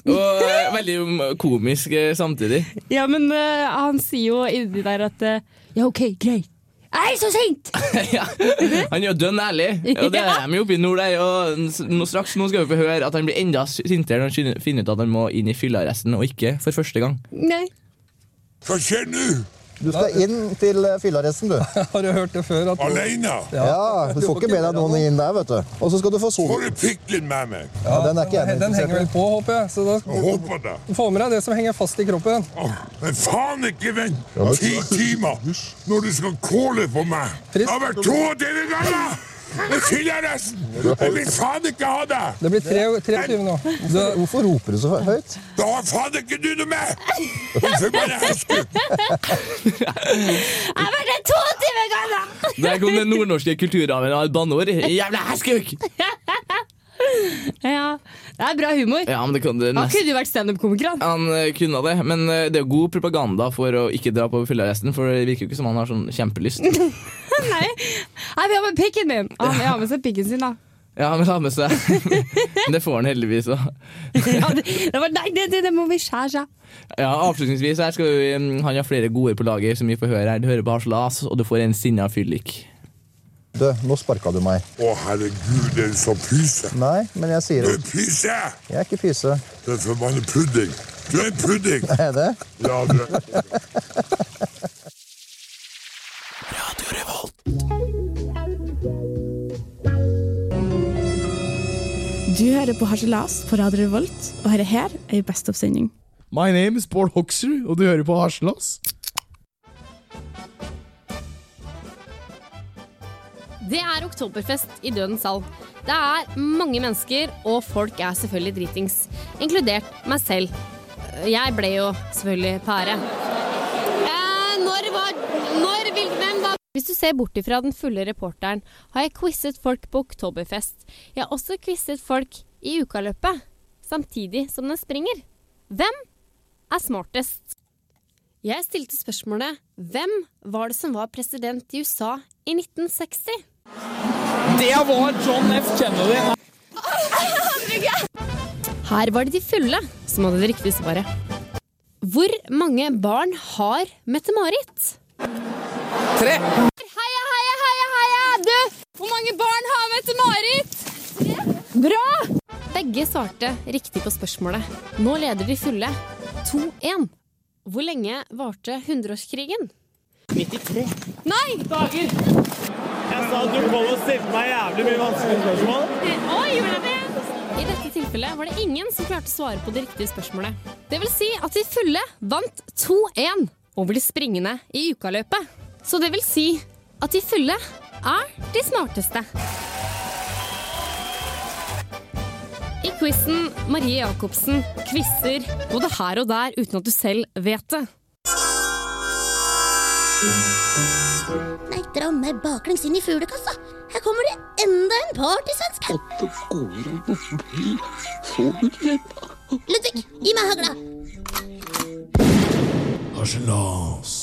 [SPEAKER 3] Og eh, veldig mm, komisk eh, samtidig.
[SPEAKER 2] Ja, men eh, han sier jo inni der at eh, Ja, OK, greit. Jeg er så sint!
[SPEAKER 3] ja. Han er jo dønn ærlig, og det er de jo oppe i nord der. Og s- nå straks nå skal vi få høre at han blir enda sintere når han skynder- finner ut at han må inn i fyllearresten, og ikke for første gang.
[SPEAKER 2] Nei.
[SPEAKER 6] Hva skjer nå?
[SPEAKER 9] Du skal inn til eh, fyllearresten, du.
[SPEAKER 6] Aleine?
[SPEAKER 9] Ja, du får ikke med deg noen inn der, vet du. Og så skal du få sove.
[SPEAKER 6] Får du piklen med meg?
[SPEAKER 9] Ja, den er ikke jeg interessert i.
[SPEAKER 6] Jeg håper det.
[SPEAKER 10] Få med deg det som henger fast i kroppen.
[SPEAKER 6] Åh, Men faen ikke vent ti timer når du skal kåle på meg! Jeg har vært 22 ganger! Og fyllearresten! Jeg vil faen ikke ha deg!
[SPEAKER 10] Det blir 23 nå. Du-
[SPEAKER 9] Hvorfor roper du så høyt?
[SPEAKER 6] Da har faen ikke du noe med! Din forbanna heskutt!
[SPEAKER 2] Jeg har vært her to timer, Ganna!
[SPEAKER 3] Der kom den nordnorske kulturarven av et banneord. Jævla hestkuk!
[SPEAKER 2] Ja, det er bra humor.
[SPEAKER 3] Ja, men det kunne
[SPEAKER 2] Han
[SPEAKER 3] nesten
[SPEAKER 2] kunne jo vært standup-komiker, han.
[SPEAKER 3] han eh, kunne det, men eh, det er jo god propaganda for å ikke dra på fyllearresten, for det virker jo ikke som han har sånn kjempelyst.
[SPEAKER 2] Nei, jeg vil ha med pikken min! Ah, jeg har med seg pikken sin, da.
[SPEAKER 3] Ja, men ha med seg Men det får han heldigvis òg.
[SPEAKER 2] Ja, det, det, var, nei, det, det, det må vi skjære seg.
[SPEAKER 3] Ja, avslutningsvis her skal vi, mm, han har flere gode på lager som vi får høre her. Du hører på Harselas, og du får en sinna fyllik.
[SPEAKER 9] Du, nå sparka du meg.
[SPEAKER 6] Å, herregud, er du så pyse?
[SPEAKER 9] Nei, men jeg sier
[SPEAKER 6] Du
[SPEAKER 9] det.
[SPEAKER 6] er pyse!
[SPEAKER 9] Jeg er ikke fyse.
[SPEAKER 6] Du er forbanna pudding. Du er en pudding!
[SPEAKER 9] Er jeg det?
[SPEAKER 6] Ja, du er.
[SPEAKER 1] Du hører på Harselas på Radio Revolt, og dette her er en Best of-sending.
[SPEAKER 11] My name is Bård Hoksrud, og du hører på Harselas.
[SPEAKER 2] Det er oktoberfest i Dødens sal. Det er mange mennesker, og folk er selvfølgelig dritings. Inkludert meg selv. Jeg ble jo selvfølgelig pære. Eh, når var Når vil Hvem var Hvis du ser bort ifra den fulle reporteren, har jeg quizet folk på oktoberfest. Jeg har også quizet folk i ukaløpet, samtidig som den springer. Hvem er smartest? Jeg stilte spørsmålet Hvem var det som var president i USA i 1960?
[SPEAKER 3] Det var John F. Kennedy!
[SPEAKER 2] Her var det de fulle som hadde det riktige svaret. Hvor mange barn har Mette-Marit?
[SPEAKER 3] Tre!
[SPEAKER 2] Heia, heia, heia, heia! Du, hvor mange barn har Mette-Marit? Bra! Begge svarte riktig på spørsmålet. Nå leder de fulle 2-1. Hvor lenge varte hundreårskrigen?
[SPEAKER 3] 93.
[SPEAKER 2] Nei! Dager!
[SPEAKER 11] Jeg sa at du kom og stilte meg jævlig mye vanskelige spørsmål.
[SPEAKER 2] Oi, gjorde jeg det? I dette tilfellet var det ingen som klarte å svare på det riktige spørsmålet. Det vil si at de fulle vant 2-1 over de springende i ukaløpet. Så det vil si at de fulle er de smarteste. I quizen Marie Jacobsen quizer både her og der uten at du selv vet det.
[SPEAKER 8] Nei, dra meg baklengs inn i fuglekassa. Her kommer det enda en partysvensk. Ludvig, gi meg hagla.
[SPEAKER 12] Harselas.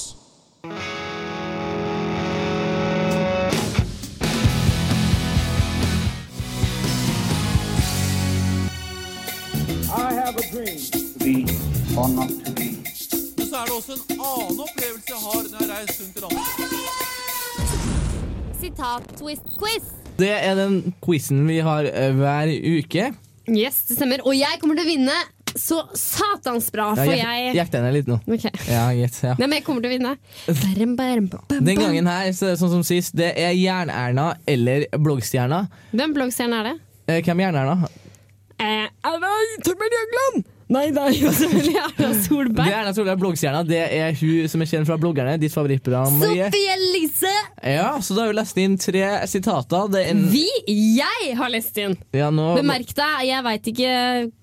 [SPEAKER 12] Men så er det også en annen opplevelse jeg har når jeg har reist rundt i landet.
[SPEAKER 2] Sitat-twist-quiz.
[SPEAKER 3] Det er den quizen vi har eh, hver uke.
[SPEAKER 2] Yes, det stemmer. Og jeg kommer til å vinne så satans bra, for jeg
[SPEAKER 3] Gjett den litt nå.
[SPEAKER 2] Ok.
[SPEAKER 3] Ja, gitt, ja.
[SPEAKER 2] Nei, men jeg kommer til å vinne. Bærum, bærum, bam, bam,
[SPEAKER 3] Den
[SPEAKER 2] bam.
[SPEAKER 3] gangen her, så er det sånn som sist, det er Jern-Erna eller Bloggstjerna.
[SPEAKER 2] Hvem bloggstjerne er det?
[SPEAKER 3] Eh, Hvem er Jern-Erna?
[SPEAKER 2] Eh, er det Torbjørn Jøgland? Nei, nei, selvfølgelig Erna Solberg.
[SPEAKER 3] Det er Erna Solberg, bloggstjerna. Det er hun som er kjent fra bloggerne. Ditt favorittprogram. Marie.
[SPEAKER 2] Sophie Elise!
[SPEAKER 3] Ja, så da har vi lest inn tre sitater. Det er en...
[SPEAKER 2] Vi, jeg har lest inn.
[SPEAKER 3] Ja, nå...
[SPEAKER 2] Bemerk deg, jeg veit ikke,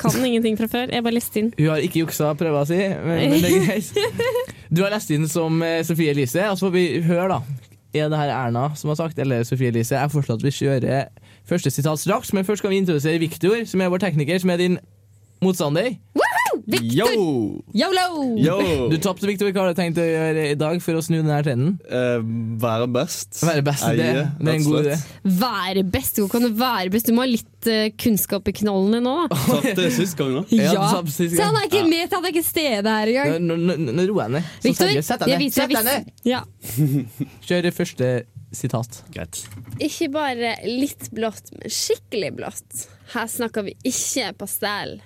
[SPEAKER 2] kan ingenting fra før. Jeg bare leste inn.
[SPEAKER 3] Hun har ikke juksa prøva si, men, men det er greit. Du har lest inn som eh, Sofie Elise, og så får vi høre, da. Er det her Erna som har sagt, eller Sofie Elise? Jeg foreslår at vi kjører første sitat straks, men først skal vi introdusere Viktor, som er vår tekniker, som er din motstander.
[SPEAKER 2] Woohoo! Victor!
[SPEAKER 3] Yo!
[SPEAKER 2] Yolo!
[SPEAKER 13] Oh.
[SPEAKER 3] Du tapte, Viktor. Hva har du tenkt å gjøre i dag for å snu denne trenden? være best. Være best, det,
[SPEAKER 13] Eie,
[SPEAKER 3] det er en god
[SPEAKER 13] rett og
[SPEAKER 3] idé.
[SPEAKER 13] slett.
[SPEAKER 2] Være best. Hvor kan du være best? Du må ha litt eh, kunnskap i knollene nå, da.
[SPEAKER 13] Tapte sist gang, da.
[SPEAKER 2] Ja.
[SPEAKER 3] Se,
[SPEAKER 2] Så han er ikke med, han er ikke stedet her engang.
[SPEAKER 3] Nå nå- nå- nå roer jeg ned. Så
[SPEAKER 2] Victor,
[SPEAKER 3] seriøst, sett deg
[SPEAKER 2] jeg
[SPEAKER 3] ned.
[SPEAKER 2] viser
[SPEAKER 3] Sett deg
[SPEAKER 2] jeg
[SPEAKER 3] ned!
[SPEAKER 2] viser- Ja.
[SPEAKER 3] Kjør første sitat. Greit.
[SPEAKER 2] Ikke bare litt blått, men skikkelig blått. Her snakker vi ikke pastell.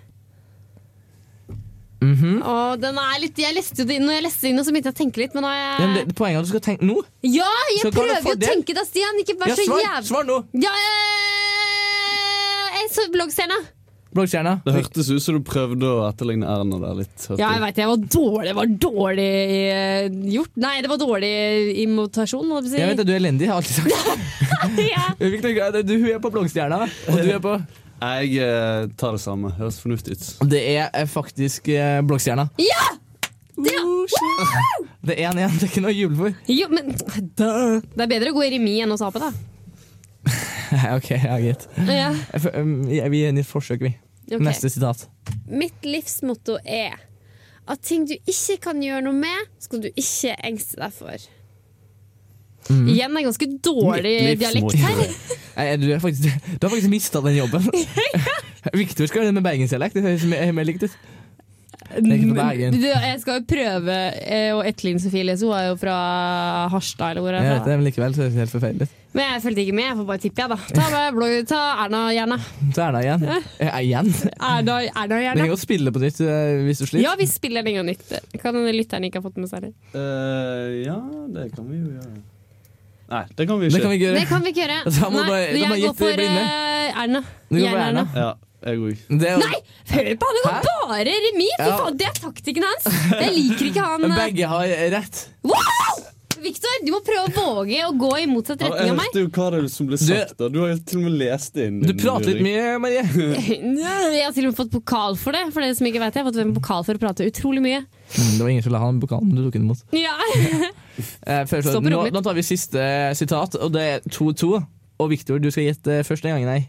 [SPEAKER 2] Å, den er litt, jeg leste jo det inn, Når jeg leste det inn, nå, så begynte jeg å tenke litt, men nå er
[SPEAKER 3] Ja,
[SPEAKER 2] jeg
[SPEAKER 3] men det, poenget er at du skal tenke nå.
[SPEAKER 2] Ja, jeg
[SPEAKER 3] Så hva er det
[SPEAKER 2] prøver jo å
[SPEAKER 3] fordel?
[SPEAKER 2] tenke deg, Stian. Ikke vær
[SPEAKER 3] Ja,
[SPEAKER 2] så
[SPEAKER 3] svar-
[SPEAKER 2] jævlig
[SPEAKER 3] svar nå.
[SPEAKER 2] Ja, eh, jeg så bloggstjerna.
[SPEAKER 3] Bloggstjerna.
[SPEAKER 13] Det hørtes ut som du prøvde å etterligne Erna der litt. hørte
[SPEAKER 2] Ja, jeg veit jeg var dårlig. Det var dårlig eh, gjort. Nei, det var dårlig immutasjon, må jeg si.
[SPEAKER 3] Jeg vet at du er elendig, har jeg alltid sagt. Victor, hva er det? du, hun er på bloggstjerna, og du er på
[SPEAKER 13] Jeg eh, tar det samme. Høres fornuftig ut.
[SPEAKER 3] Det er eh, faktisk eh, bloggstjerna.
[SPEAKER 2] Ja! Det, Woo!
[SPEAKER 3] Det er 1-1, det er ikke noe å juble for.
[SPEAKER 2] jo, men Det er bedre å gå i remis enn å tape, da.
[SPEAKER 3] ok, ja, greit.
[SPEAKER 2] Ja.
[SPEAKER 3] Jeg fø- um, jeg- Vi er i et forsøk, vi.
[SPEAKER 2] Ok.
[SPEAKER 3] Neste sitat.
[SPEAKER 2] Mitt livsmotto er at ting du ikke kan gjøre noe med, skal du ikke engste deg for.
[SPEAKER 3] Mhm.
[SPEAKER 2] Igjen en ganske dårlig
[SPEAKER 3] Mitt livsmotto.
[SPEAKER 2] dialekt her.
[SPEAKER 3] Nei, Du, er faktisk, du har faktisk mista den jobben. Victor skal gjøre det med bergensdialekt. Det høres mer mer likt ut. Det er ikke fra Bergen.
[SPEAKER 2] Du, jeg skal jo prøve eh, å etterligne Sofie Elise. Hun er jo fra Harstad, eller hvor hun
[SPEAKER 3] Jeg
[SPEAKER 2] er
[SPEAKER 3] vet
[SPEAKER 2] fra.
[SPEAKER 3] det, men likevel så er det helt forferdelig.
[SPEAKER 2] Men jeg fulgte ikke med, jeg får bare tippe, jeg, da. Ta, meg blogg- ta Erna, gjerne.
[SPEAKER 3] Så er det igjen. Eh, igjen.
[SPEAKER 2] Erna, Erna,
[SPEAKER 3] Vi kan
[SPEAKER 2] gjerne.
[SPEAKER 3] godt spille på nytt eh, hvis du sliter.
[SPEAKER 2] Ja, vi spiller den gang nytt. Kan hende lytteren ikke har fått med seg det.
[SPEAKER 13] Eh, ja, det kan vi jo gjøre. Nei, det kan vi ikke.
[SPEAKER 3] Det kan vi ikke gjøre.
[SPEAKER 2] Det kan vi ikke gjøre.
[SPEAKER 3] Da må du bare- da
[SPEAKER 2] jeg
[SPEAKER 3] må jeg
[SPEAKER 2] går
[SPEAKER 3] gjette
[SPEAKER 2] for
[SPEAKER 3] blinde.
[SPEAKER 2] eh, Erna.
[SPEAKER 3] Du går for
[SPEAKER 2] Gjerne
[SPEAKER 3] Erna.
[SPEAKER 13] Ja, jeg òg.
[SPEAKER 2] Nei, hør på han! Det var bare remis! Fy
[SPEAKER 3] Ja.
[SPEAKER 2] faen, det er taktikken hans! Jeg liker ikke han eh.
[SPEAKER 3] Begge har rett.
[SPEAKER 2] Wow! Victor, du må prøve å våge å gå i motsatt
[SPEAKER 13] Ja,
[SPEAKER 2] retning
[SPEAKER 13] jeg
[SPEAKER 2] av meg.
[SPEAKER 13] hørte jo hva det er som ble
[SPEAKER 2] Sånn.
[SPEAKER 13] sagt. da. Du har jo til og med lest det inn. Du
[SPEAKER 3] prater litt mye, Marie.
[SPEAKER 2] Jeg har til og med fått pokal for det. For dere som ikke vet, Jeg har fått en pokal for å prate utrolig mye.
[SPEAKER 3] Mm, Det var ingen som la han pokalen, men du tok den imot.
[SPEAKER 2] Ja.
[SPEAKER 3] Eh, før-
[SPEAKER 2] Stå på
[SPEAKER 3] nå,
[SPEAKER 2] rommet mitt.
[SPEAKER 3] nå tar vi siste eh, sitat, og det er 2-2. Og Victor, du skal gjette eh, første gangen, nei.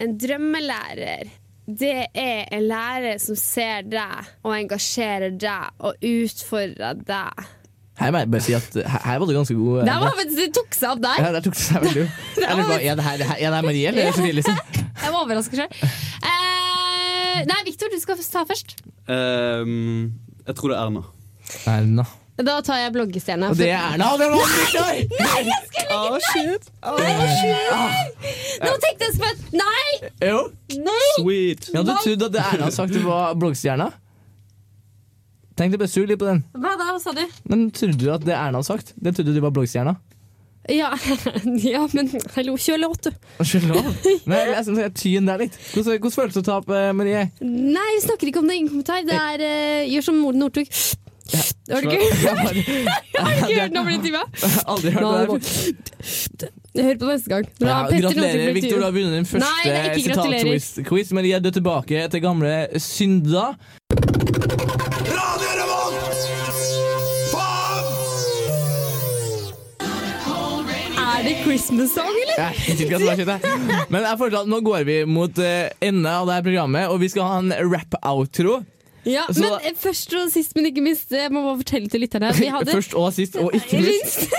[SPEAKER 2] En drømmelærer, det er en lærer som ser deg og engasjerer deg og utfordrer deg.
[SPEAKER 3] Her må jeg bare si at her her var du ganske god. eh,
[SPEAKER 2] Der var faktisk, det tok seg opp der!
[SPEAKER 3] Ja, der tok det seg veldig opp. Jeg lurer på, Er det her, det her- er det her Marie eller
[SPEAKER 2] Ja.
[SPEAKER 3] er det Sofie liksom? Elise?
[SPEAKER 2] Jeg var overrasket sjøl. Eh, nei, Victor, du skal ta først.
[SPEAKER 13] Ehm, jeg tror det er Erna.
[SPEAKER 3] Erna.
[SPEAKER 2] Da tar jeg bloggestjerna.
[SPEAKER 13] Og det er Erna, og det var Victor!
[SPEAKER 2] Nei, nei, jeg skulle
[SPEAKER 3] Ah,
[SPEAKER 2] ikke shit. Nei,
[SPEAKER 3] Eh,
[SPEAKER 2] shit. Nå tenkte jeg spent. Nei!
[SPEAKER 3] Jo.
[SPEAKER 2] Nei!
[SPEAKER 13] Sweet.
[SPEAKER 3] Jeg hadde trodd at det Erna hadde sagt det var bloggstjerna. Tenk deg bare sur litt på den.
[SPEAKER 2] Hva da, hva sa du?
[SPEAKER 3] Men trodde du at det Erna hadde sagt? Det trodde du var bloggstjerna?
[SPEAKER 2] Ja, ja men hallo, kjør låt, du.
[SPEAKER 3] Unnskyld. Nei, jeg synes jeg tyen der litt. Hvordan, hvordan føles det å tape, eh, Marie?
[SPEAKER 2] Nei, vi snakker ikke om det. Ingen kommentar. Det er, eh, gjør som Morden Northug. Har du ikke Har du ikke hørt den over den timen?
[SPEAKER 3] Aldri hørt
[SPEAKER 2] Nå,
[SPEAKER 3] det der.
[SPEAKER 2] det Hør på neste gang. Når
[SPEAKER 3] Ja,
[SPEAKER 2] Petter Northug
[SPEAKER 3] gratulerer,
[SPEAKER 2] blir
[SPEAKER 3] Victor. Du har
[SPEAKER 2] tyve.
[SPEAKER 3] vunnet din
[SPEAKER 2] Nei, det er
[SPEAKER 3] første
[SPEAKER 2] ikke gratulerer.
[SPEAKER 3] sitatquiz. Men jeg er død tilbake til gamle synder.
[SPEAKER 2] Er det Christmas song, eller?
[SPEAKER 3] Jeg er ikke glad for det. Men jeg foreslår at nå går vi mot eh, enden av det her programmet, og vi skal ha en rap-outro.
[SPEAKER 2] Ja,
[SPEAKER 3] Så-
[SPEAKER 2] men eh, først og sist, men ikke minst, eh, jeg må bare fortelle til lytterne at vi hadde
[SPEAKER 3] Først og sist, og ikke minst.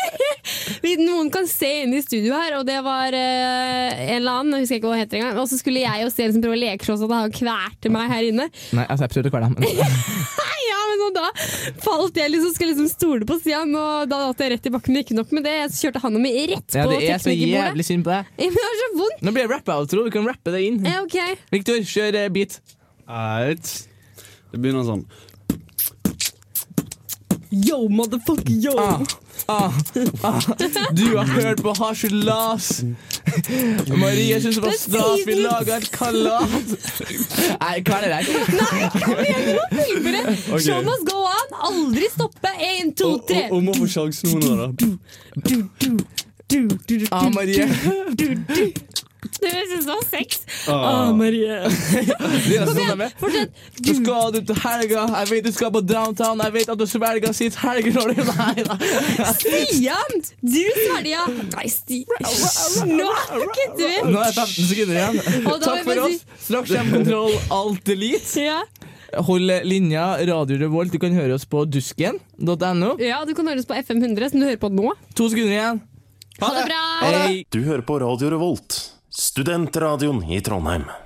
[SPEAKER 2] Vi- Noen kan se inn i studio her, og det var eh, en eller annen, jeg husker ikke hva hun heter engang. Og så skulle jeg og Sten som prøve å leke sånn at han kvalte meg her inne.
[SPEAKER 3] Nei, altså, jeg prøvde å kvele ham. men-
[SPEAKER 2] ja, men og da falt jeg liksom, skulle liksom stole på Stian, og da datt jeg rett i bakken. Ikke nok med det, jeg kjørte han og meg rett på
[SPEAKER 3] Ja, det er så
[SPEAKER 2] teknikerbordet.
[SPEAKER 3] jævlig synd på deg.
[SPEAKER 2] Men det var så vondt!
[SPEAKER 3] Nå blir det rap-outro. Du kan rappe det inn.
[SPEAKER 2] Ja, ok.
[SPEAKER 3] Victor, kjør eh, beat.
[SPEAKER 13] Eit. Det begynner sånn.
[SPEAKER 2] Yo, motherfucker, yo!
[SPEAKER 3] Ah, ah, du har hørt på harselas. Marie syns det var stas vi laga et kalas. Nei, hva er det der?
[SPEAKER 13] Ok.
[SPEAKER 2] Show must go on! Aldri stoppe! Én, to,
[SPEAKER 13] Og-
[SPEAKER 2] tre!
[SPEAKER 13] og- Om å få sjansen nå, nå, da.
[SPEAKER 3] Ah, Marie.
[SPEAKER 2] Det synes jeg var sex.
[SPEAKER 3] Ah.
[SPEAKER 2] Ah, Marie.
[SPEAKER 3] Det er
[SPEAKER 2] Kom
[SPEAKER 3] sånn
[SPEAKER 2] igjen,
[SPEAKER 3] det er.
[SPEAKER 2] fortsett.
[SPEAKER 3] Så skal du til helga, jeg vet du skal på downtown, jeg vet at du svelger sitt helgerolle. Nei da.
[SPEAKER 2] Stian! Du svelga! Nei, Stian Nå kutter vi!
[SPEAKER 3] Nå er det 15 sekunder igjen.
[SPEAKER 2] Og da
[SPEAKER 3] Takk
[SPEAKER 2] må jeg
[SPEAKER 3] for
[SPEAKER 2] bare
[SPEAKER 3] oss. Straks kommer kontroll alt elite. Hold linja Radio Revolt. Du kan høre oss på dusken.no.
[SPEAKER 2] Ja, du kan høre oss på FM 100, som du hører på nå.
[SPEAKER 3] To sekunder igjen.
[SPEAKER 2] Ha det bra!
[SPEAKER 7] Du hører på Radio Revolt, studentradioen i Trondheim.